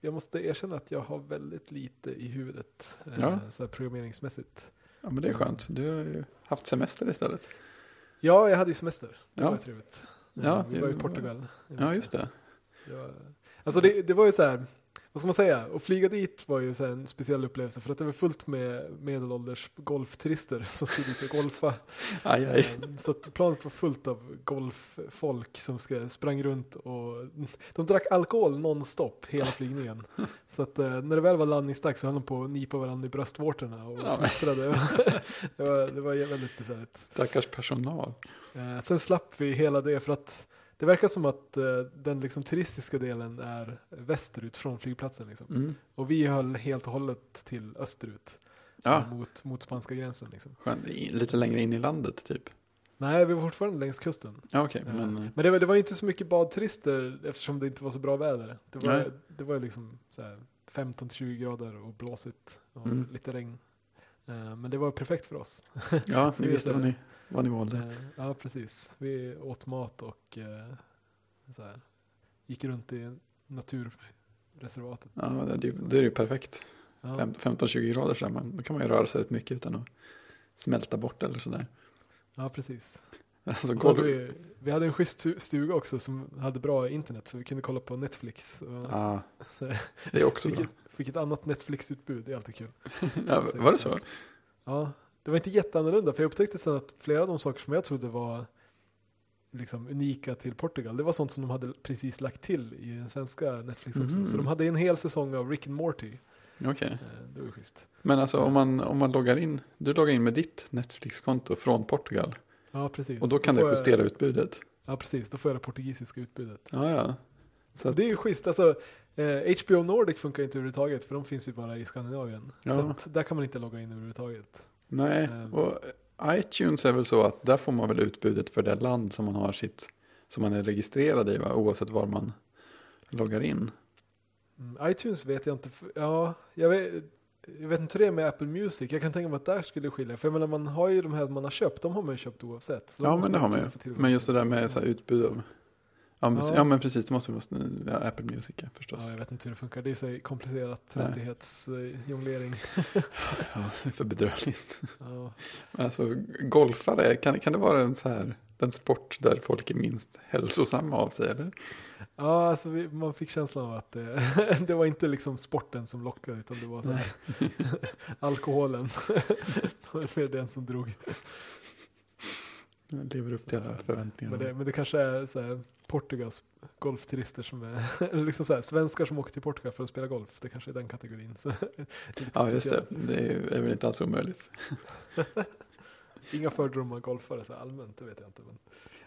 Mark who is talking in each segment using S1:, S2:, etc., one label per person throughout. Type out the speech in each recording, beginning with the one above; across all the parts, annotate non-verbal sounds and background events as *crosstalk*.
S1: jag måste erkänna att jag har väldigt lite i huvudet. eh,
S2: Ja.
S1: Så här programmeringsmässigt.
S2: Ja, men det är skönt. Du har ju haft semester istället.
S1: Ja, jag hade ju semester. Det
S2: Ja.
S1: var ju trevligt. Eh,
S2: Ja,
S1: vi var i
S2: det-
S1: Portugal.
S2: Ja, just det.
S1: Det var, alltså det, det var ju så här, vad ska man säga, att flyga dit var ju så här en speciell upplevelse för att det var fullt med medelålders golfturister som stod ute och golfa.
S2: Aj, aj.
S1: Ehm, Så att planet var fullt av golffolk som ska, sprang runt och de drack alkohol nonstop hela flygningen. Så att eh, när det väl var landningsdags så höll de på att nipa varandra i bröstvårtorna och
S2: Ja, men.
S1: fnittrade. *laughs* det, var, det var väldigt besvärligt.
S2: Stackars personal.
S1: Eh, sen slapp vi hela det för att det verkar som att eh, den liksom, turistiska delen är västerut från flygplatsen. Liksom.
S2: Mm.
S1: Och vi höll helt och hållet till österut
S2: Ja,
S1: eh, mot, mot spanska gränsen. Liksom.
S2: skönt. I- Lite längre in i landet typ.
S1: Nej, vi var fortfarande längs kusten.
S2: Ja, okej.
S1: Eh,
S2: men eh,
S1: *laughs* men det, var- det var inte så mycket badturister eftersom det inte var så bra väder. Det
S2: Nej.
S1: var, det var liksom så här 15-20 grader och blåsigt och
S2: Mm.
S1: lite regn. Eh, men det var perfekt för oss.
S2: ja, ni
S1: vi
S2: visste
S1: vet
S2: vad
S1: det.
S2: ni, vad ni valde.
S1: Eh, ja, precis. Vi åt mat och eh, så här, gick runt i naturreservatet.
S2: Ja, det, det, det är ju perfekt.
S1: Ja.
S2: Fem- 15-20 grader så här, men då kan man ju röra sig rätt mycket utan att smälta bort eller sådär.
S1: ja, precis.
S2: *laughs* Alltså,
S1: Så hade
S2: golv...
S1: vi, vi hade en schysst stu- stuga också som hade bra internet så vi kunde kolla på Netflix. Och
S2: Ja,
S1: Så här,
S2: det är också
S1: fick,
S2: bra.
S1: ett, fick ett annat Netflix-utbud, det är alltid kul.
S2: *laughs* Ja,
S1: Så-
S2: var det så?
S1: Ja, det var inte jätteannorlunda för jag upptäckte sen att flera av de saker som jag trodde var liksom unika till Portugal, det var sånt som de hade precis lagt till i den svenska Netflix också.
S2: Mhm.
S1: Så de hade en hel säsong av Rick and Morty.
S2: Okej.
S1: Eh, Det var ju schysst.
S2: Men alltså om man, om man loggar in, du loggar in med ditt Netflix-konto från Portugal
S1: Ja, precis.
S2: och då kan det
S1: får jag-
S2: justera utbudet.
S1: Ja, precis. Då får jag det portugisiska utbudet.
S2: Ja, ja. Så att,
S1: Det är ju schysst. Alltså, eh, HBO Nordic funkar inte överhuvudtaget för de finns ju bara i Skandinavien.
S2: Ja.
S1: Så att där kan man inte logga in överhuvudtaget.
S2: nej,
S1: ehm.
S2: och eh, iTunes är väl så att där får man väl utbudet för det land som man har sitt, som man är registrerad i, va? oavsett var man loggar in.
S1: Mm, iTunes vet jag inte. för- Ja, jag vet, jag vet inte hur det är med Apple Music. Jag kan tänka mig att där skulle det skilja. För jag menar, man har ju de här man har köpt. De har man ju köpt oavsett. Så
S2: ja,
S1: de
S2: men
S1: måste
S2: det har man
S1: kunna
S2: ju.
S1: få tillgång
S2: Men just det
S1: till.
S2: där med så här, utbud av, ja, mus-
S1: Ja.
S2: ja. men precis, det måste vi måste, ja, Apple Music ja, förstås.
S1: Ja, jag vet inte hur det funkar. Det är så här komplicerat
S2: Nej.
S1: rättighetsjonglering.
S2: Ja, *laughs* det är för bedrövligt.
S1: Ja.
S2: Men Alltså, golfare, kan, kan det vara en så här, den sport där folk är minst hälsosamma av sig eller?
S1: Ja, alltså vi, man fick känslan av att det, *laughs* det var inte liksom sporten som lockade utan det var så här, *laughs* alkoholen. *laughs* det var mer den som drog.
S2: Jag lever upp till alla förväntningar.
S1: Men det, men det kanske är så här, Portugals golfturister som är, *laughs* eller liksom så här, svenskar som åker till Portugal för att spela golf. Det kanske är den kategorin. *laughs* Så, det är lite
S2: ja, just det.
S1: speciellt.
S2: Det är ju- är väl inte alls omöjligt.
S1: Inga fördomar om golfare så här, allmänt, det vet jag inte. Men,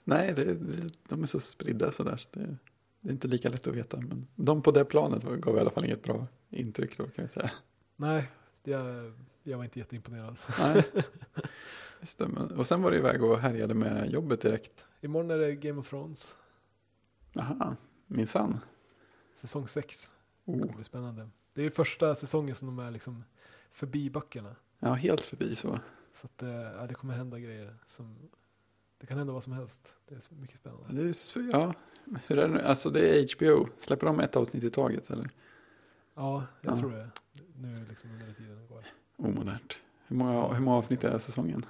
S2: Nej, det, det, de är så spridda sådär. Så det, det är inte lika lätt att veta. Men de på det planet var- gav i alla fall inget bra intryck då kan jag säga.
S1: nej, jag, jag var inte jätteimponerad.
S2: Nej. Just det, men, och sen var det iväg och härjade med jobbet direkt.
S1: Imorgon är det Game of Thrones,
S2: Aha, minsann.
S1: säsong 6. Det
S2: Oh.
S1: kommer bli spännande. Det är första säsongen som de är liksom förbi böckerna.
S2: Ja, helt förbi så.
S1: Så att, eh, ja, det kommer hända grejer. Som, det kan hända vad som helst. Det är så mycket spännande.
S2: Det är, så- ja, hur är det nu? Alltså det är HBO. Släpper de ett avsnitt i taget eller?
S1: Ja, jag
S2: Ja.
S1: tror det. Nu liksom under tiden går.
S2: Omodernt. Hur många, hur många avsnitt är säsongen?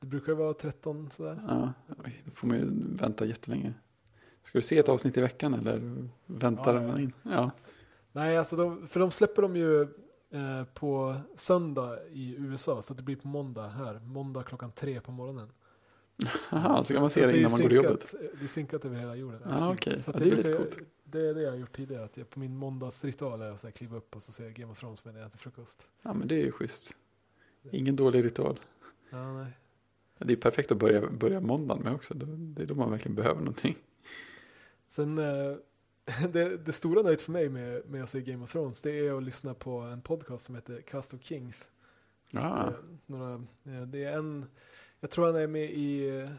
S1: Det brukar ju vara 13 sådär.
S2: Ja, oj, då får man ju vänta jättelänge. Ska du se ett avsnitt i veckan eller väntar
S1: Ja, ja.
S2: man in? Ja,
S1: Nej, alltså de, för de släpper dem ju eh, på söndag i USA. Så att det blir på måndag här. Måndag klockan tre på morgonen.
S2: Aha, så kan man
S1: Så
S2: se
S1: att
S2: det
S1: är
S2: innan man går till
S1: synkat-
S2: jobbet.
S1: Det är synkat över hela jorden.
S2: Ja,
S1: precis.
S2: okej.
S1: Så
S2: Ja,
S1: att
S2: det är lite
S1: brukar-
S2: coolt.
S1: Det är det jag har gjort tidigare. Att jag på min måndagsritual är att så här kliva upp och så se Game of Thrones medan jag äter frukost.
S2: Ja, men det är ju schysst. Ingen dålig ritual.
S1: Ja, nej.
S2: Det är perfekt att börja, börja måndagen med också. Det- Det är då man verkligen behöver någonting.
S1: Sen eh, *laughs* det, det stora nöjet för mig med, med att se Game of Thrones det är att lyssna på en podcast som heter Cast of Kings.
S2: Ja,
S1: Eh, Några, eh, det är en, jag tror han är med i eh,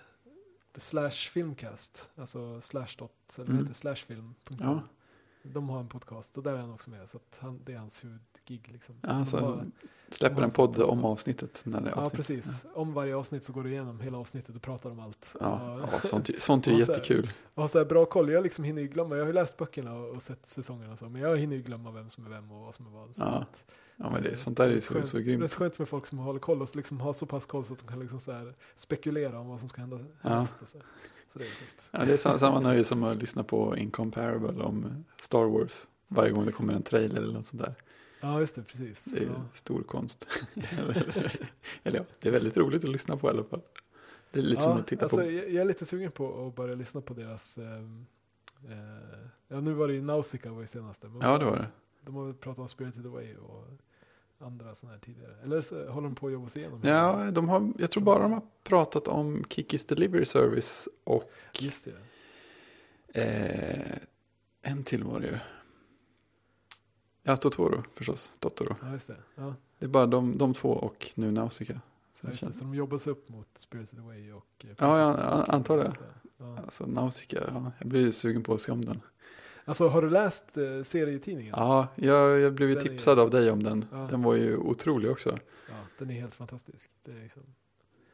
S1: The Slash Filmcast, alltså Slashdot, eller vad
S2: Mm.
S1: heter Slashfilm.com.
S2: Ja.
S1: De har en podcast och där är han också med. Så att han, det är hans huvudgig. Liksom.
S2: Ja, alltså, så
S1: De har-
S2: han släpper en podd om avsnittet när det är
S1: ja,
S2: avsnitt.
S1: precis. Om varje avsnitt så går du igenom hela avsnittet och pratar om allt.
S2: Ja,
S1: Och-
S2: ja sånt, sånt är
S1: *laughs*
S2: ju
S1: Och så här-
S2: jättekul.
S1: Jag har så här bra koll, jag liksom hinner ju glömma, jag har ju läst böckerna och, och sett säsongerna och så, men jag hinner ju glömma vem som är vem och vad som är vad.
S2: Ja,
S1: Så att,
S2: Ja, men det,
S1: eh,
S2: sånt där är ju
S1: rätt
S2: så,
S1: skönt-
S2: så grymt.
S1: Rätt skönt med folk som håller koll och liksom har så pass koll så att de kan liksom så här spekulera om vad som ska hända
S2: Ja.
S1: härnäst. och Så, här. så det är schysst.
S2: Ja, det är sa- samma nöje som att lyssna på Incomparable om Star Wars. Varje gång det kommer en trailer eller något sånt där.
S1: Ja, just det, precis.
S2: Det är ju
S1: Ja.
S2: stor konst. *laughs* eller, eller ja, det är väldigt roligt att lyssna på i alla fall. Det är lite som
S1: Ja,
S2: att titta
S1: alltså,
S2: på.
S1: jag, jag är lite sugen på att börja lyssna på deras, ehm, eh, ja nu var det ju Nausicaa var ju senaste, men
S2: Ja, det var det.
S1: de har väl pratat om Spirited Away och andra sådana här tidigare. Eller så håller de på att jobba sig igenom. hela-
S2: Ja, de har, jag tror bara de har pratat om Kikis Delivery Service och
S1: Just det.
S2: eh, en till var det ju. Ja, Totoro förstås. Totoro.
S1: Ja, just det. Ja,
S2: Det är bara de, de två och nu Nausicaa. Så
S1: ja,
S2: det
S1: just det.
S2: känns,
S1: Så de jobbar sig upp mot Spirited Away och... eh,
S2: Ja, jag
S1: Princess
S2: an-
S1: Bride.
S2: antar det.
S1: Just Ja.
S2: alltså Nausicaa, ja, jag blir ju sugen på att se om den.
S1: Alltså, har du läst eh, serietidningen?
S2: Ja, jag, jag blev ju
S1: Den är-
S2: tipsad av dig om den.
S1: Ja.
S2: Den var ju otrolig också.
S1: Ja, den är helt fantastisk. Det är liksom...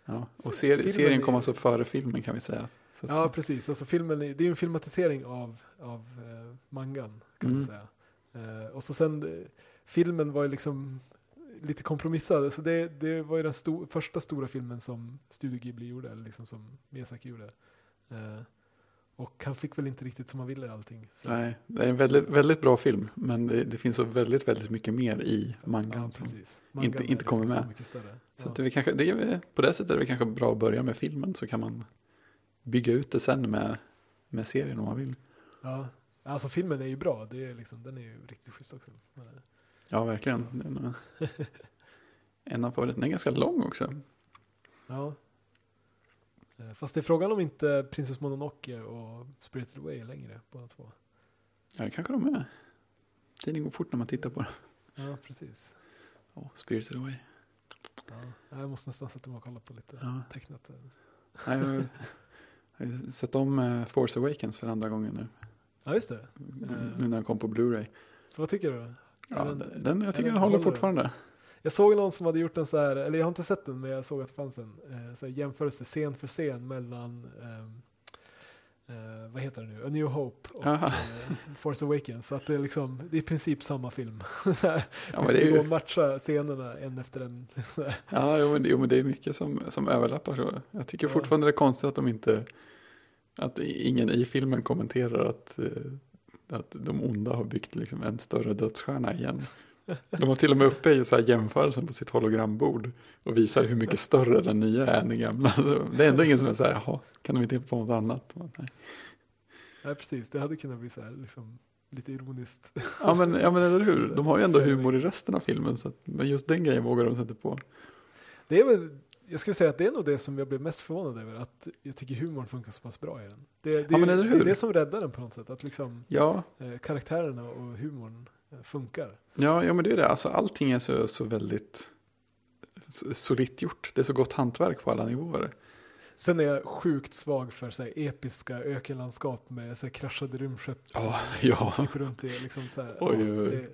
S2: Ja. Och seri
S1: Filmen
S2: serien
S1: är-
S2: kom alltså före filmen kan vi säga. Så att,
S1: Ja, precis. Alltså, filmen är, det är ju en filmatisering av, av eh, mangan, kan man
S2: Mm.
S1: säga. Eh, och så sen, eh, filmen var ju liksom lite kompromissad. Så det, det var ju den sto- första stora filmen som Studio Ghibli gjorde, eller liksom som Miyazaki gjorde. Eh, och han fick väl inte riktigt som han ville allting. Så,
S2: Nej, det är en väldigt, väldigt bra film, men det, det finns så väldigt, väldigt mycket mer i mangan.
S1: ja,
S2: som,
S1: precis.
S2: inte-
S1: är
S2: inte kommer
S1: liksom Så
S2: med.
S1: mycket större.
S2: så
S1: Ja.
S2: att det är väl kanske, det är, väl- på det sättet är det kanske bra att börja med filmen så kan man bygga ut det sen med, med serien om man vill.
S1: Ja, alltså filmen är ju bra. Det är liksom, den är ju riktigt schysst också. Men, eh,
S2: Ja, verkligen. Det är nog- *laughs* en av favoriterna. Den är ganska lång också.
S1: ja. Eh, Fast det är frågan om inte Princess Mononoke och Spirited Away är längre båda två.
S2: Ja, det kanske de är. Tiden går fort när man tittar på den.
S1: Ja, precis.
S2: Oh, Spirited Away.
S1: Ja. Jag måste nästan sätta mig och kolla på lite
S2: Ja.
S1: tecknat. där.
S2: Nej, jag har- jag har sett om eh, Force Awakens för andra gången nu.
S1: Ja, just det.
S2: Nu när den kom på Blu-ray.
S1: Så vad tycker du? då?
S2: Ja,
S1: Är den-
S2: den, den, Mm. jag tycker
S1: den
S2: den håller
S1: håller.
S2: fortfarande.
S1: Jag såg någon som hade gjort en så här, eller jag har inte sett den, men jag såg att det fanns en eh, så här jämförelse scen för scen mellan ehm, eh, vad heter det nu? A New Hope och
S2: Aha.
S1: eh, Force Awakens. Så att det är liksom, det är i princip samma film. Så
S2: Ja,
S1: Vi
S2: men
S1: ska
S2: det är
S1: gå och
S2: ju,
S1: matcha scenerna en efter en.
S2: ja, jo, men, det- jo, men det är mycket som, som överlappar. Så. Jag tycker
S1: Ja.
S2: fortfarande det är konstigt att de inte, att i- ingen i filmen kommenterar att, eh, att de onda har byggt liksom en större dödsstjärna igen. De har till och med uppe i så här jämförelsen på sitt hologrambord och visar hur mycket större den nya är än den gamla. Det är ändå ingen som är så här, jaha, kan de inte hitta på något annat? Men, nej.
S1: Nej, precis. Det hade kunnat bli så här, liksom, lite ironiskt.
S2: Ja men, ja men eller hur, de har ju ändå humor i resten av filmen så att, men just den grejen vågar de sig inte på.
S1: Det är väl, jag skulle säga att det är nog det som jag blev mest förvånad över, att jag tycker humorn funkar så pass bra i den. Det, det, är
S2: Ja, men
S1: ju-
S2: eller
S1: det
S2: hur?
S1: är det som räddar den på något sätt, att liksom
S2: Ja,
S1: eh, karaktärerna och humorn eh, funkar.
S2: ja, ja men det är det, alltså allting är så, så väldigt s- solitt gjort, det är så gott hantverk på alla nivåer.
S1: Sen är jag sjukt svag för så här, episka ökenlandskap med så här, kraschade rymdskepp som
S2: Ja, ja.
S1: kryper runt i. Liksom, så här,
S2: *laughs* Oj,
S1: ja,
S2: oj, oj.
S1: Det,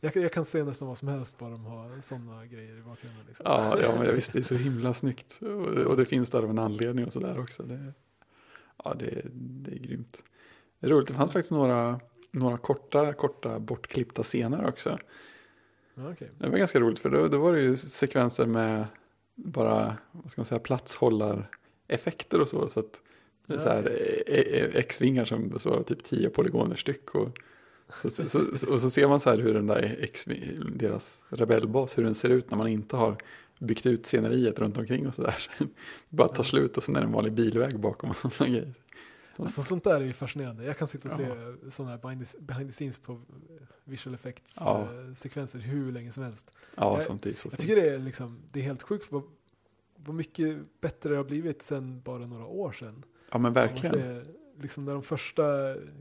S1: jag, kan- jag kan se nästan vad som helst bara de har sådana grejer i bakgrunden. Liksom.
S2: Ja, ja men visst, det är så himla snyggt och, det- och det finns där av en anledning och sådär också. Det, ja, det, det är grymt. Det är roligt, det fanns faktiskt några, några korta, korta bortklippta scener också.
S1: Ja, okej.
S2: Det var ganska roligt för då, då var det ju sekvenser med bara, vad ska man säga, platshållareffekter och så. Så att det är så här eh, eh, X-vingar som består av typ 10 polygoner styck. Och så, så, så, och så ser man så här hur den där X, deras rebellbas, hur den ser ut när man inte har byggt ut sceneriet runt omkring och *laughs* sådär. Bara tar slut och sen är det en vanlig bilväg bakom och sådana grejer.
S1: Alltså sånt där är ju fascinerande. Jag kan sitta och se
S2: Mm. Ja.
S1: sådana här behind the, behind the scenes på eh, visual effects
S2: Ja.
S1: eh, sekvenser hur länge som helst.
S2: Ja,
S1: Jag-
S2: sånt är ju så
S1: Jag
S2: fint.
S1: tycker det är liksom, det är helt sjukt vad, vad mycket bättre det har blivit sedan bara några år sedan.
S2: Ja, men verkligen.
S1: Om man ser, liksom när de första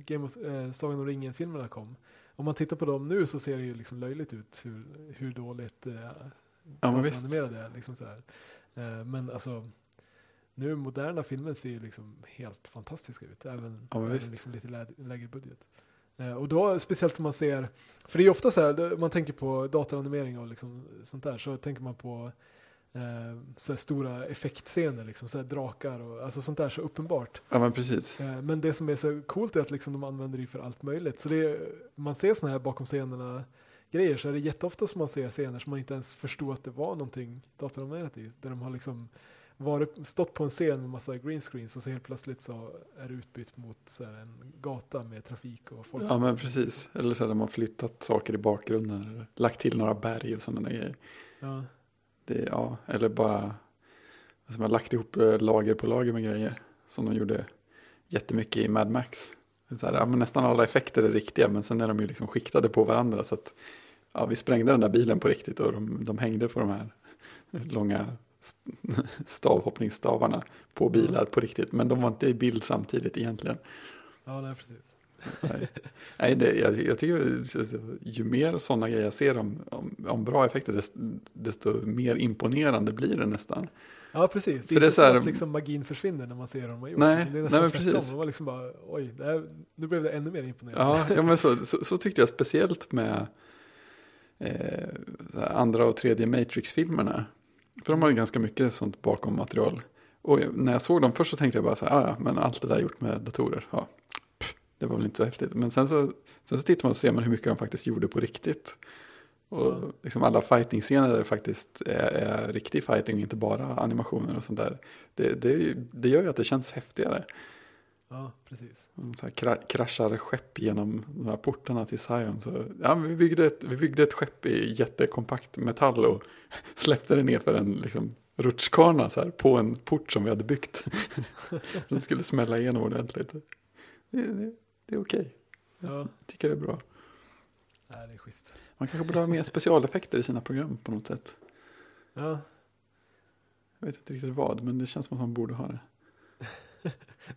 S1: Game of, eh, Sagan om ringen-filmerna kom. Om man tittar på dem nu så ser det ju liksom löjligt ut hur, hur dåligt eh,
S2: Ja, men visst.
S1: datoranimerade är. Liksom så här. Eh, men alltså, nu moderna filmer ser ju liksom helt fantastiska ut. Även,
S2: Ja, men
S1: även
S2: visst.
S1: liksom lite lä- lägre budget. Eh, Och då, speciellt om man ser, för det är ju ofta så här, det- man tänker på datoranimering och liksom sånt där, så tänker man på eh, så här stora effektscener, liksom, så här drakar och alltså sånt där så uppenbart.
S2: Ja, men precis.
S1: Eh, Men det som är så coolt är att liksom de använder det för allt möjligt. Så det är, man ser såna här bakom scenerna grejer så är det jätteofta som man ser scener som man inte ens förstod att det var någonting datoranimerat i. Där de har liksom varit, stått på en scen med massa green screens och så helt plötsligt så är det utbytt mot så här en gata med trafik och folk.
S2: Ja, men precis. Eller så har man flyttat saker i bakgrunden. Eller lagt till några berg och sådana där grejer.
S1: Ja.
S2: Det, ja, eller bara alltså man har lagt ihop eh, lager på lager med grejer. Som de gjorde jättemycket i Mad Max. Det är Så här, ja, men nästan alla effekter är riktiga men sen är de ju liksom skiktade på varandra. Så att, ja, vi sprängde den där bilen på riktigt och de, de hängde på de här långa st- *laughs* stavhoppningsstavarna på bilar på riktigt. Men de var inte i bild samtidigt egentligen.
S1: Ja, nej, precis.
S2: Nej, Nej det, jag, jag tycker alltså, ju mer sådana grejer jag ser om, om, om bra effekter desto, desto mer imponerande blir det nästan.
S1: Ja, precis. Det är
S2: För det är
S1: inte
S2: så
S1: så
S2: här-
S1: att liksom magin försvinner när man ser hur de har gjort.
S2: Nej,
S1: det är
S2: nej,
S1: nästan
S2: men
S1: tvärtom.
S2: precis.
S1: Det var liksom bara, oj, det här, nu blev det ännu mer imponerande.
S2: Ja, ja men så, så, så tyckte jag speciellt med eh, så här andra och tredje Matrix-filmerna. För de har ju ganska mycket sånt bakom material. Och jag- när jag såg dem först så tänkte jag bara så här, "Ah, ja, men allt det där är gjort med datorer. Ja, pff, det var väl inte så häftigt. Men sen så, sen så tittar man och ser man hur mycket de faktiskt gjorde på riktigt. Och
S1: Ja.
S2: liksom alla fighting-scener där det faktiskt är, är riktig fighting och inte bara animationer och sånt där. Det, det, är ju- det gör ju att det känns häftigare.
S1: ja precis.
S2: De Mm, så här kra- kraschar skepp genom de här portarna till Zion. Så, ja, men vi, byggde ett, vi byggde ett skepp i jättekompakt metall och *laughs* släppte det ner för en liksom, rutschkana så här, på en port som vi hade byggt. *laughs* Den skulle smälla igenom ordentligt. Det, det, det är okej,
S1: Ja,
S2: jag tycker det är bra.
S1: nej, det är schysst.
S2: Man kanske borde ha mer specialeffekter i sina program på något sätt.
S1: Ja,
S2: Jag vet inte riktigt vad, men det känns som att man borde ha det.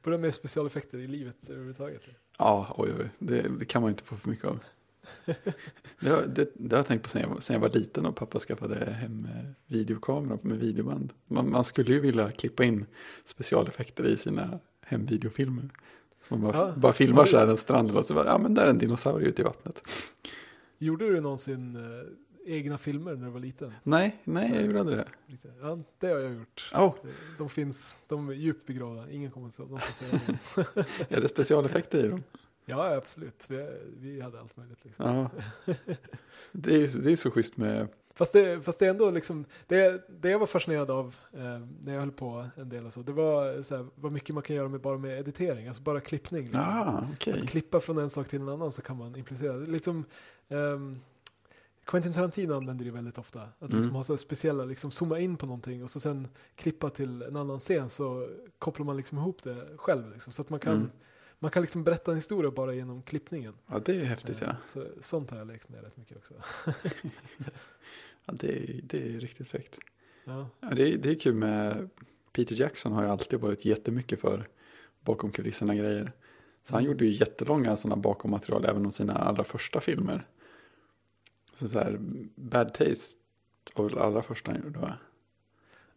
S1: borde ha mer specialeffekter i livet överhuvudtaget.
S2: Ja, oj, oj. Det, det kan man ju inte få för
S1: *laughs*
S2: mycket av. Det har, det, det har jag tänkt på sen jag, sen jag var liten och pappa skaffade hem eh, videokamera med videoband. Man, man skulle ju vilja klippa in specialeffekter i sina hemvideofilmer. Så man bara,
S1: Ja.
S2: bara filmar så här en strand och så bara, ja men där är en dinosaurie ute i vattnet.
S1: Gjorde du någonsin eh, egna filmer när du var liten?
S2: Nej, nej
S1: Så-
S2: jag gjorde aldrig det.
S1: Lite. Ja, det har jag gjort.
S2: Åh,
S1: De finns, de är djupt begravda. Ingen kommer att någonsin säga
S2: *laughs*
S1: något.
S2: är det specialeffekter i dem?
S1: Ja, ja, absolut. Vi, vi hade allt möjligt. Liksom.
S2: Ja. Det är ju det är så schysst med,
S1: *laughs* Fast, det, fast det är ändå liksom, det, det jag var fascinerad av eh, när jag höll på en del och så, det var så här, vad mycket man kan göra med bara med editering, alltså bara klippning. Liksom.
S2: ah, okej.
S1: Att klippa från en sak till en annan så kan man implicera. Det är Liksom, ehm, Quentin Tarantino använder det väldigt ofta. Att liksom
S2: Mm.
S1: ha så här speciella, liksom zooma in på någonting och så sen klippa till en annan scen så kopplar man liksom ihop det själv. Liksom, så att man kan,
S2: Mm.
S1: man kan liksom berätta en historia bara genom klippningen.
S2: Ja, det är häftigt
S1: Eh,
S2: ja.
S1: Så, sånt har jag lekt med rätt mycket också.
S2: ja det, är- det är riktigt fräckt.
S1: Ja,
S2: Ja, det, är, det är kul med Peter Jackson har ju alltid varit jättemycket för bakom kulisserna grejer. Så han gjorde ju jättelånga sådana bakom material även om sina allra första filmer. Så, så här, Bad Taste var väl allra första han gjorde va?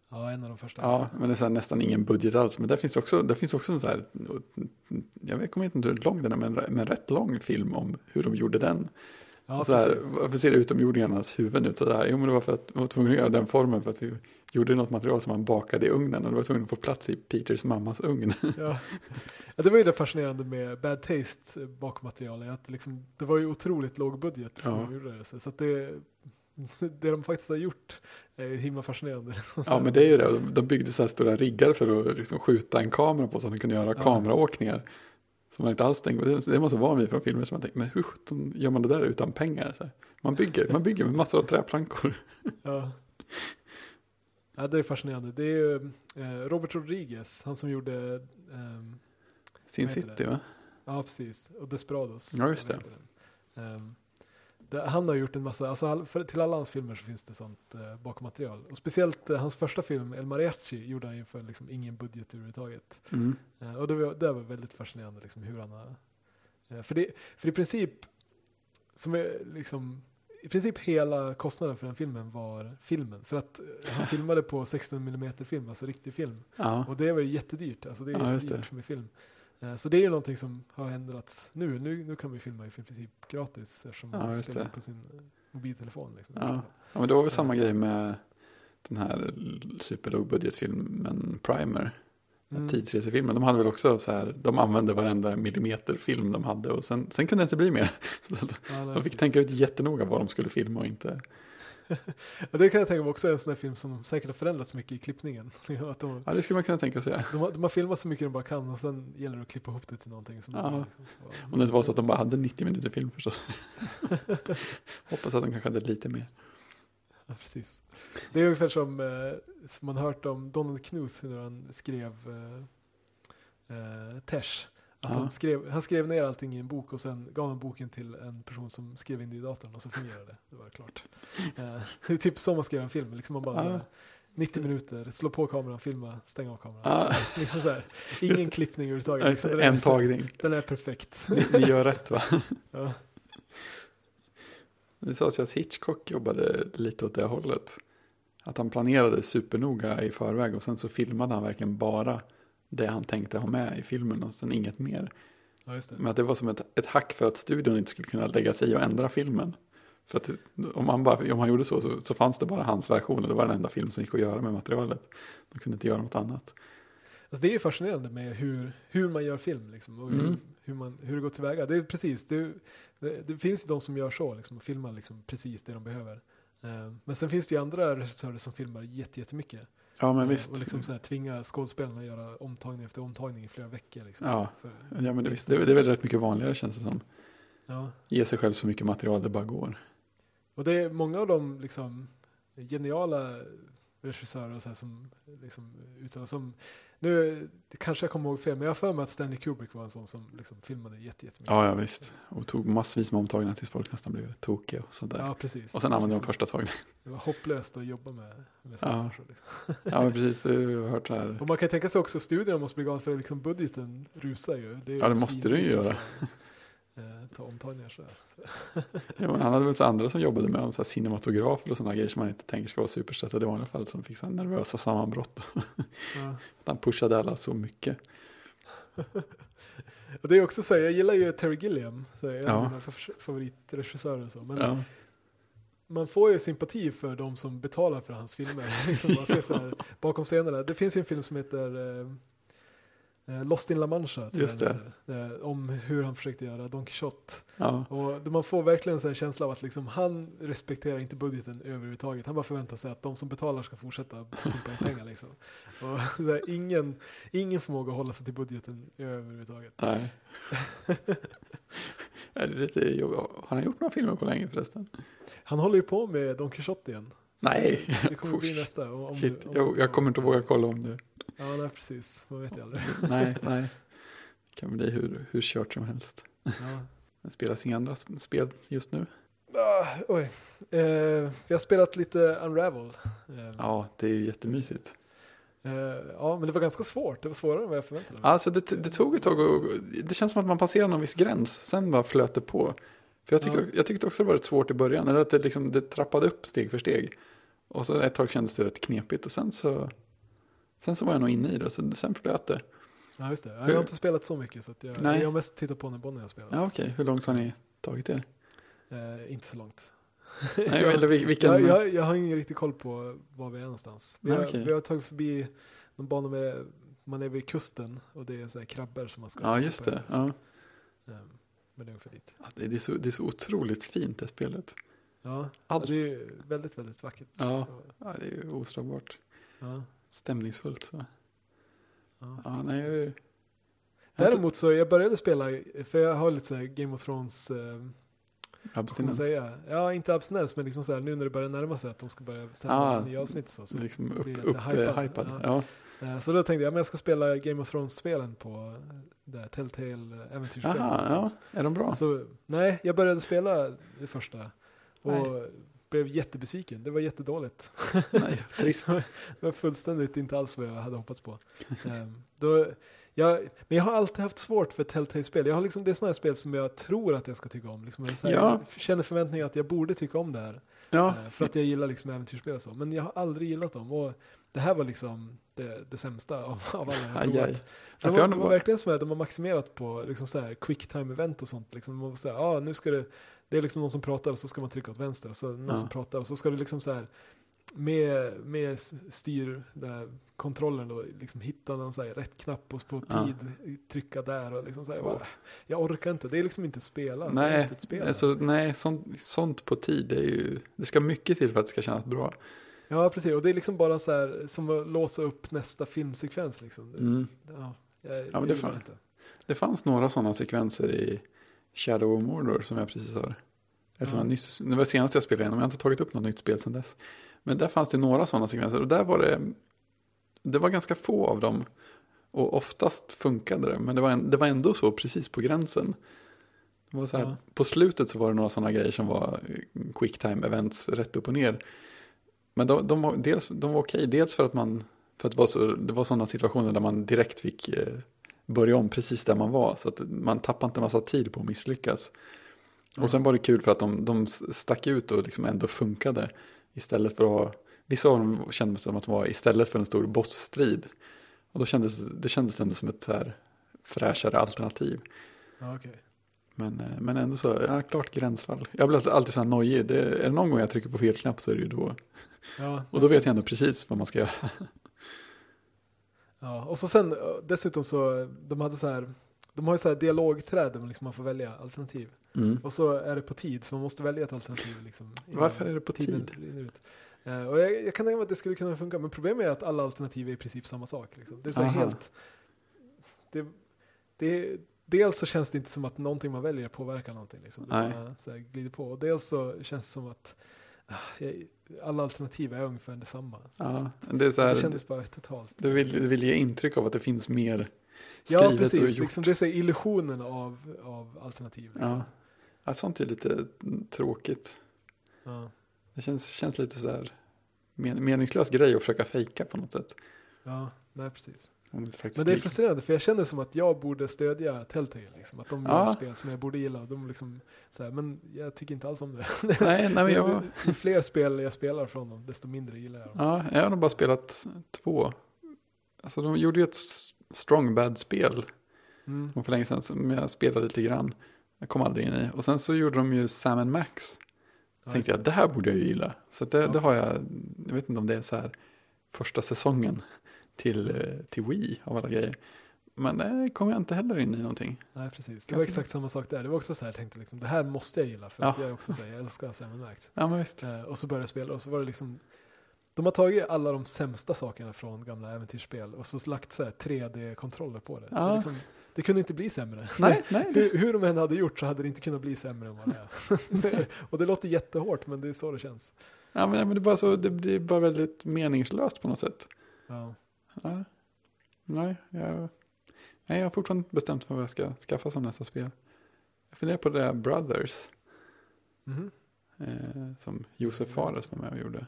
S1: ja en av de första.
S2: Ja, men det är så här, nästan ingen budget alls. Men där finns också, där finns också en så här, jag vet- kommer inte hur lång den är, men, men rätt lång film om hur de gjorde den.
S1: Ja,
S2: Och så här,
S1: precis.
S2: varför ser utomjordingarnas huvuden ut sådär? Jo, men det var för att man var tvungen att göra den formen för att vi gjorde något material som man bakade i ugnen och det var tvungen att få plats i Peters mammas ugn.
S1: *laughs* Ja. Ja, det var ju det fascinerande med Bad Taste eh, bakmaterialet. Att liksom, det var ju otroligt låg budget som
S2: Ja.
S1: de gjorde det. Så så att det, det de faktiskt har gjort är ju himla fascinerande. liksom. Så
S2: Ja,
S1: här.
S2: men det är ju det. De- De byggde så här stora riggar för att liksom skjuta en kamera på så att de kunde göra
S1: Ja.
S2: kameraåkningar. Som man inte alls tänkte det- Det måste vara vi från filmer som man tänker, men hur sjutton gör man det där utan pengar? Så här, man, bygger, man bygger med massor av träplankor. *laughs*
S1: Ja. Ja, det är fascinerande. Det är ju eh, Robert Rodriguez, han som gjorde, ehm,
S2: Sin
S1: Vad heter
S2: City,
S1: det?
S2: va?
S1: ja precis, och Desperados.
S2: Ja, just
S1: Vad
S2: det.
S1: heter den? Ehm, det- han har gjort en massa, alltså all- för, till alla hans filmer så finns det sånt eh, bakmaterial. Och speciellt eh, hans första film, El Mariachi, gjorde han ju för liksom ingen budget överhuvudtaget.
S2: Mm.
S1: Eh, Och det var, det var väldigt fascinerande liksom, hur han har... eh, För det, för i princip som är liksom i princip hela kostnaden för den filmen var filmen. För att eh, han filmade på 16 mm film, alltså riktig film.
S2: Ja.
S1: Och det var ju jättedyrt, alltså det är
S2: Ja, just
S1: jättedyrt med film. Eh, Så det är ju någonting som har ändrats nu. Nu, nu kan vi filma i princip gratis eftersom
S2: Ja,
S1: man
S2: just
S1: spelar
S2: det.
S1: på sin eh, mobiltelefon. Liksom.
S2: Ja. Ja, men det var väl samma grej med den här superlågbudgetfilmen Primer.
S1: Mm.
S2: Tidsresefilmen. De hade väl också så här, de använde varenda millimeter film de hade och sen, sen kunde det inte bli mer. Så att
S1: Ja, nej,
S2: De fick
S1: precis.
S2: tänka ut jättenoga vad de skulle filma och inte.
S1: Ja, det kan jag tänka mig också är en sån här film som säkert har förändrats mycket i klippningen. *laughs* att de,
S2: Ja, det skulle man kunna tänka sig.
S1: de, har, de har filmat så mycket de bara kan och sen gäller det att klippa ihop det till någonting. Som
S2: Ja.
S1: liksom, så.
S2: Om det inte var så att de bara hade 90 minuter
S1: *laughs*
S2: film förstås. Hoppas att de kanske hade lite mer.
S1: Ja, precis. Det är ungefär som, eh, som man hört om Donald Knuth när han skrev eh, eh, Tesh. Att
S2: Ja.
S1: han, skrev, han skrev ner allting i en bok och sen gav han boken till en person som skrev in det i datorn och så fungerade det. Det var
S2: *laughs*
S1: klart. Eh, det är typ som man skrev en film, liksom man bara
S2: Ja.
S1: eh, 90 minuter, slå på kameran, filma, stäng av kameran.
S2: Ja.
S1: Så, *laughs* liksom så här. Ingen
S2: Just
S1: klippning överhuvudtaget. Liksom,
S2: Exakt, En tagning.
S1: den är
S2: *laughs*
S1: perfekt.
S2: Ni, ni gör rätt va?
S1: Ja.
S2: Det sades ju att Hitchcock jobbade lite åt det hållet. Att han planerade supernoga i förväg och sen så filmade han verkligen bara det han tänkte ha med i filmen och sen inget mer.
S1: ja, just det.
S2: Men att det var som ett, ett hack för att studion inte skulle kunna lägga sig i och ändra filmen. För att om han, bara, om han gjorde så, så så fanns det bara hans version och det var den enda film som gick att göra med materialet. De kunde inte göra något annat.
S1: Alltså det är ju fascinerande med hur, hur man gör film liksom, och hur,
S2: Mm.
S1: hur, man, hur det går tillväga. Det är precis, det, det, det finns ju de som gör så, liksom, och filmar liksom precis det de behöver. Eh, Men sen finns det ju andra regissörer som filmar jätte- jättemycket.
S2: Ja men
S1: Eh,
S2: visst.
S1: Och liksom så här, tvingar skådespelarna att göra omtagning efter omtagning i flera veckor. Liksom.
S2: ja.
S1: För,
S2: ja men det, visst, det, är- det är väl rätt mycket vanligare känns det som.
S1: ja.
S2: Ge sig själv så mycket material det bara går.
S1: Och det är många av de liksom, geniala regissörer och så här, som liksom, utan, som nu kanske jag kommer ihåg fel, men jag har för mig att Stanley Kubrick var en sån som liksom, filmade jätte- jättemycket.
S2: Ja ja visst. Och tog massvis med omtagningar tills folk nästan blev tokiga och sånt där.
S1: Ja, precis.
S2: Och sen använde de
S1: Liksom, *laughs*
S2: första tagningen.
S1: Det var hopplöst att jobba med, med sådana
S2: Ja.
S1: människor. Liksom.
S2: Ja men precis, du har hört det här.
S1: Och man kan tänka sig också studion måste bli galen för liksom budgeten rusar ju. är
S2: Ja, det måste den ju
S1: svindyrt
S2: göra.
S1: att, eh, Ta omtagningar sådär.
S2: Ja, men han hade väl så andra som jobbade med så här cinematografer och sådana grejer som man inte tänker ska vara superstöttade i vanliga fall som fick så här nervösa sammanbrott.
S1: Ja. *laughs*
S2: Han pushade alla så mycket.
S1: Och det är också så här, jag gillar ju Terry Gilliam, så här, en
S2: Ja.
S1: av mina fa- favoritregissörer och så. Men
S2: Ja.
S1: man får ju sympati för de som betalar för hans filmer. *laughs* liksom man ser så här, bakom scenerna. Det finns ju en film som heter eh, eh, Lost in La Mancha. tror
S2: Just
S1: jag den heter. Eh, om hur han försökte göra Don Quixote.
S2: Ja.
S1: Och det- man får verkligen så här känsla av att liksom han respekterar inte budgeten överhuvudtaget. Han bara förväntar sig att de som betalar ska fortsätta pumpa in pengar. Liksom. Och *laughs* så här, ingen, ingen förmåga att hålla sig till budgeten överhuvudtaget. *laughs*
S2: Nej. Ja, det är lite jobbigt. Har han gjort några filmer på länge förresten?
S1: Han håller ju på med Don Quixote igen. Så
S2: Nej.
S1: Det kommer bli
S2: *laughs* Usch.
S1: nästa. och Om,
S2: Shit,
S1: om-
S2: jag, jag kommer inte våga kolla
S1: *laughs*
S2: om det.
S1: Ja, nej, precis. Man vet ju aldrig.
S2: *laughs* Nej, nej. Det kan bli hur, hur kört som helst.
S1: Ja.
S2: Det spelas inga andra sp- spel just nu.
S1: Ah, oj. Eh, vi har spelat lite Unravel. Eh,
S2: Ja, det är ju jättemysigt.
S1: eh, ja, men det var ganska svårt. Det var svårare än vad jag förväntade mig.
S2: Alltså det, det tog ett tag och det känns som att man passerar någon viss gräns, sen bara flöt det på. För jag tyckte,
S1: Ja.
S2: jag tyckte också det var rätt svårt i början, eller att det, liksom, det trappade upp steg för steg. Och så ett tag kändes det rätt knepigt och sen så, sen så var jag nog inne i det, så sen flöt det.
S1: Ja, just det. Ja,
S2: Hur-
S1: Jag har inte spelat så mycket så att jag,
S2: Nej.
S1: jag har mest tittat på när Bonnie har spelat.
S2: Ja okej, hur långt har ni tagit er?
S1: Eh, inte så långt. *laughs*
S2: Nej,
S1: jag,
S2: eller vil- vilken...
S1: jag, jag, jag har ingen riktig koll på var vi är någonstans. Vi,
S2: Nej,
S1: har,
S2: okej.
S1: vi har tagit förbi någon bana med, man är vid kusten och det är så här krabbor som man ska
S2: Ja just
S1: hoppa
S2: det,
S1: i.
S2: ja.
S1: Eh, Men det är ungefär dit.
S2: Ja, det, det, är så, det är så otroligt fint det spelet.
S1: Ja,
S2: Allt-
S1: det är ju väldigt, väldigt vackert.
S2: Ja, ja det är ju oslagbart.
S1: Ja,
S2: Stämningsfullt så.
S1: ja.
S2: Ja, nej, jag, jag,
S1: Däremot så, jag började spela, för jag har lite så här Game of Thrones, eh, vad ska man
S2: abstinens.
S1: säga? Ja, inte abstinens, men liksom så här nu när det börjar närma sig att de ska börja sätta
S2: Ah,
S1: nya avsnitt och så. så
S2: Liksom upp,
S1: blir lite
S2: upp,
S1: hypad.
S2: eh, hypad.
S1: Ja.
S2: Ja.
S1: Eh, Så då tänkte jag, men jag ska spela Game of Thrones-spelen på eh, det här Telltale äventyrsspelen.
S2: Jaha, ja. Är de bra?
S1: Så, nej, jag började spela det första och
S2: Nej.
S1: blev jättebesviken. Det var jättedåligt.
S2: Nej, *laughs*
S1: *laughs*
S2: trist.
S1: Det var fullständigt inte alls vad jag hade hoppats på. Ehm, då, jag, men jag har alltid haft svårt för Telltale-spel. Jag har liksom, det är sådana här spel som jag tror att jag ska tycka om. Liksom, jag så här,
S2: Ja.
S1: jag känner förväntningar att jag borde tycka om det här.
S2: Ja,
S1: Eh, För att jag gillar liksom äventyrsspel och så. Men jag har aldrig gillat dem. Och det här var liksom det, det sämsta av, av alla jag har
S2: Aj, aj.
S1: provat. För de,
S2: Ja, för jag
S1: har,
S2: har
S1: de
S2: nog
S1: har
S2: bara-
S1: verkligen som att de har maximerat på liksom så här quick time event och sånt. Liksom. Man säga, ah, nu ska det, det är liksom någon som pratar och så ska man trycka åt vänster och så någon
S2: Ja.
S1: som pratar och så ska du liksom så här med, med s- styr, där kontrollen då, liksom hitta någon så här rätt knapp och på
S2: Ja.
S1: tid trycka där och liksom så här,
S2: Åh.
S1: bara, jag orkar inte, det är liksom inte spela, det är
S2: Nej,
S1: inte ett spel.
S2: alltså, nej sånt, sånt på tid det är ju, det ska mycket till för att det ska kännas bra.
S1: Ja, precis, och det är liksom bara så här som att låsa upp nästa filmsekvens liksom. Det-
S2: Mm.
S1: Ja, jag,
S2: men det
S1: jag
S2: får-
S1: gillar inte.
S2: Det fanns några sådana sekvenser i Shadow of Mordor som jag precis har. Eller som
S1: Ja.
S2: jag nyss, det var senast jag spelade igenom, jag har inte tagit upp något nytt spel sedan dess. Men där fanns det några sådana sekvenser och där var det, det var ganska få av dem. Och oftast funkade det, men det var, en, det var ändå så precis på gränsen. Det var så här,
S1: Ja.
S2: På slutet så var det några sådana grejer som var eh, quick time events rätt upp och ner. Men de, de, var, dels, de var okej, dels för att man, för att det var, så, det var sådana situationer där man direkt fick eh, börja om precis där man var. Så att man tappade inte massa tid på att misslyckas.
S1: Ja.
S2: Och sen var det kul för att de, de stack ut och liksom ändå funkade. Istället för att ha, vissa av dem kändes som att de var istället för en stor bossstrid. Och då kändes det kändes ändå som ett så här fräschare alternativ.
S1: Ja, okej.
S2: Men, eh, men ändå så, ja, klart gränsfall. Jag blir alltid så här nojig. Det, är det någon gång jag trycker på fel knapp så är det ju då.
S1: ja,
S2: Och då vet jag ändå precis vad man ska göra.
S1: Ja, och så sen eh, dessutom så, de hade så här, de har ju så här dialogträd där man liksom man får välja alternativ.
S2: Mm.
S1: Och så är det på tid, så man måste välja ett alternativ liksom. innan
S2: Varför är det på
S1: tiden
S2: tid?
S1: rinner ut. Eh, och jag, jag kan tänka mig att det skulle kunna funka, men problemet är att alla alternativ är i princip samma sak. Liksom. Det är så här
S2: Aha.
S1: helt... Det, det, dels så känns det inte som att någonting man väljer påverkar någonting. Liksom. Det
S2: Nej.
S1: bara så här glider på. Och dels så känns det som att ah, jag- alla alternativ är ungefär detsamma. Så
S2: Ja, det, är så
S1: Det
S2: här,
S1: kändes bara totalt.
S2: det, vill, det vill ge intryck av att det finns mer skrivet
S1: Ja,
S2: och
S1: precis.
S2: gjort.
S1: Liksom, det är så här illusionen av, av alternativ. Liksom.
S2: Ja. ja, sånt är lite tråkigt.
S1: Ja.
S2: Det känns, känns lite så här men, meningslös grej att försöka fejka på något sätt.
S1: ja, nej precis.
S2: Om det inte faktiskt
S1: Men det är
S2: ligger.
S1: frustrerande för jag känner som att jag borde stödja Telltale. Liksom. Att de gör
S2: Ja.
S1: spel som jag borde gilla. Och de liksom, så här, men jag tycker inte alls om det.
S2: Nej, nej men jag,
S1: *laughs* Ju- Ju fler spel jag spelar från dem, desto mindre gillar jag dem.
S2: ja, jag har nog bara spelat två. Alltså de gjorde ju ett s- strong bad-spel
S1: Mm.
S2: för länge sedan som jag spelade lite grann. Jag kom aldrig in i. Och sen så gjorde de ju Sam and Max.
S1: Ja,
S2: Tänkte
S1: just
S2: jag, det här borde jag ju gilla. Så det,
S1: Ja,
S2: det har jag, jag vet inte om det är så här första säsongen till, eh, till Wii av alla grejer. Men eh, det kom jag inte heller in i någonting.
S1: Nej, precis. Det
S2: Ganska
S1: var
S2: bra.
S1: exakt samma sak där. Det var också så här, jag tänkte liksom, det här måste jag gilla. För
S2: Ja.
S1: att jag är också säger jag älskar Sam Max.
S2: Ja, men visst.
S1: Eh, och så började jag spela och så var det liksom de har tagit alla de sämsta sakerna från gamla äventyrsspel och så lagt så här 3D-kontroller på det.
S2: Ja.
S1: Det, är liksom, det kunde inte bli sämre.
S2: *laughs* Nej, nej. det-
S1: Hur, hur de än hade gjort så hade det inte kunnat bli sämre än vad det är. *laughs*
S2: *laughs*
S1: Det- och det låter jättehårt men det är så det känns.
S2: Ja, men, men det, är bara så, det blir bara väldigt meningslöst på något sätt.
S1: Ja,
S2: Ja. Nej, jag, nej, jag har fortfarande inte bestämt mig vad jag ska skaffa som nästa spel. Jag funderar på det där Brothers
S1: Mhm.
S2: eh, som Josef Fares var med och gjorde.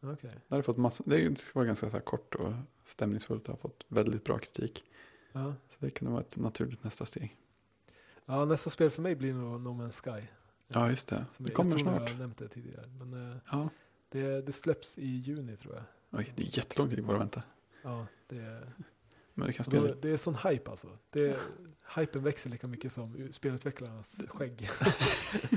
S1: okej.
S2: Det, hade fått massa, det ska vara ganska så här kort och stämningsfullt och har fått väldigt bra kritik.
S1: Ja.
S2: Så det kunde vara ett naturligt nästa steg.
S1: ja, nästa spel för mig blir nog No Man's Sky.
S2: Ja, just det.
S1: Som
S2: Det
S1: jag-
S2: kommer
S1: jag tror
S2: snart.
S1: Jag har nämnt det tidigare. Men eh,
S2: Ja.
S1: det, det släpps i juni tror jag.
S2: Oj, det är jättelång tid kvar att vänta.
S1: Ja, det,
S2: Men du kan spela
S1: Då,
S2: lite.
S1: det är sån hype alltså. Det, hypen växer lika mycket som u- spelutvecklarnas
S2: *laughs*
S1: skägg.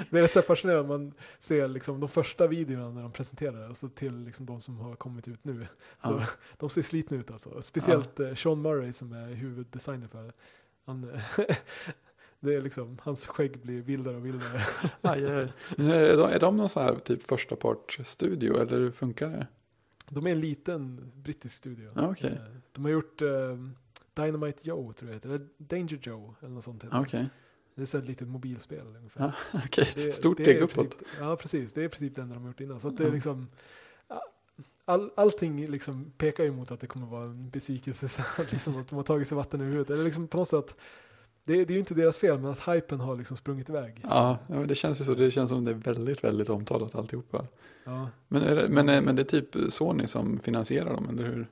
S1: det är rätt så här fascinerande. Man ser liksom de första videorna när de presenterar det, alltså till liksom de som har kommit ut nu. Så
S2: Ja.
S1: *laughs* De ser slitna ut alltså. Speciellt eh, Sean Murray som är huvuddesigner för det. Han, *laughs* eh, det är liksom, hans skägg blir vildare och vildare.
S2: Aj, aj, aj. Men Är, de, Eh, är de någon så här typ första part studio eller hur funkar det?
S1: De är en liten brittisk studio.
S2: Ja, okej.
S1: Eh, De har gjort eh, Dynamite Joe tror jag heter, eller Danger Joe eller något sånt. heter
S2: Ja,
S1: det.
S2: Ah, Okej,
S1: Det är så här ett litet mobilspel ungefär.
S2: Ja, okej.
S1: Det-
S2: Stort
S1: det
S2: steg
S1: är typ i
S2: uppåt. Mm.
S1: princip- Ja, precis. Det är i princip det enda de har gjort innan. Så att det är
S2: Ja.
S1: liksom, all, allting liksom pekar ju mot att det kommer vara en besvikelse. *laughs* Så att, liksom, att de har tagit sig vatten över huvudet. Eller liksom på något sätt, det, det är ju inte deras fel, men att hypen har liksom sprungit iväg.
S2: Ja, ja, men det känns ju så. Det känns som det är väldigt, väldigt omtalat alltihopa.
S1: Ja.
S2: Men, är det, men, är- men det är typ Sony som finansierar dem, eller hur?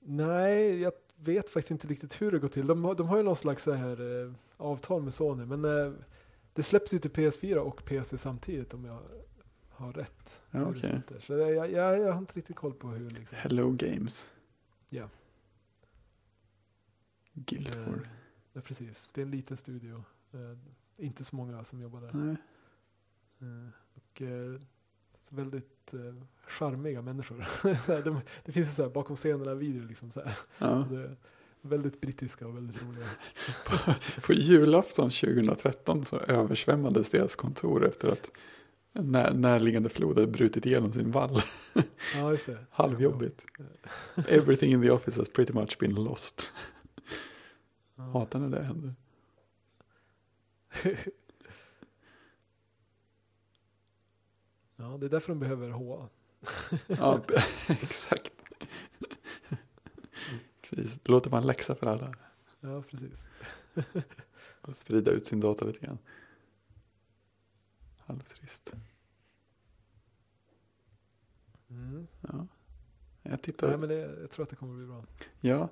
S1: Nej, jag vet faktiskt inte riktigt hur det går till. De, har- de har ju någon slags så här, eh, avtal med Sony, men eh, det släpps ju till PS4 och PC samtidigt om jag har har rätt
S2: Ja, okej.
S1: horisonter. Så det, jag, jag, jag har inte riktigt koll på hur liksom.
S2: Hello Games.
S1: Ja.
S2: Guildford.
S1: Eh, ja, precis. Det är en liten studio. Eh, inte så många som jobbar där.
S2: Nej.
S1: Eh, och eh, så väldigt eh, charmiga människor. *laughs* Så här, de, det finns så här bakom scenerna videor liksom så här.
S2: Ja.
S1: Det är väldigt brittiska och väldigt
S2: *laughs*
S1: roliga.
S2: På julafton 2013 så översvämmades deras kontor efter att en när, närliggande flod hade brutit igenom sin vall. *laughs*
S1: Ja, just det.
S2: Halvjobbigt. Everything in the office has pretty much been lost.
S1: Ja.
S2: Hatar när det händer.
S1: ja, det är därför de behöver HA.
S2: Ja, *laughs* exakt. Precis. Då låter man läxa för alla
S1: Ja, precis.
S2: och sprida ut sin data lite grann. Halvtrist.
S1: Mm.
S2: Ja. Jag tittar.
S1: Nej, men det, jag tror att det kommer bli bra.
S2: Ja,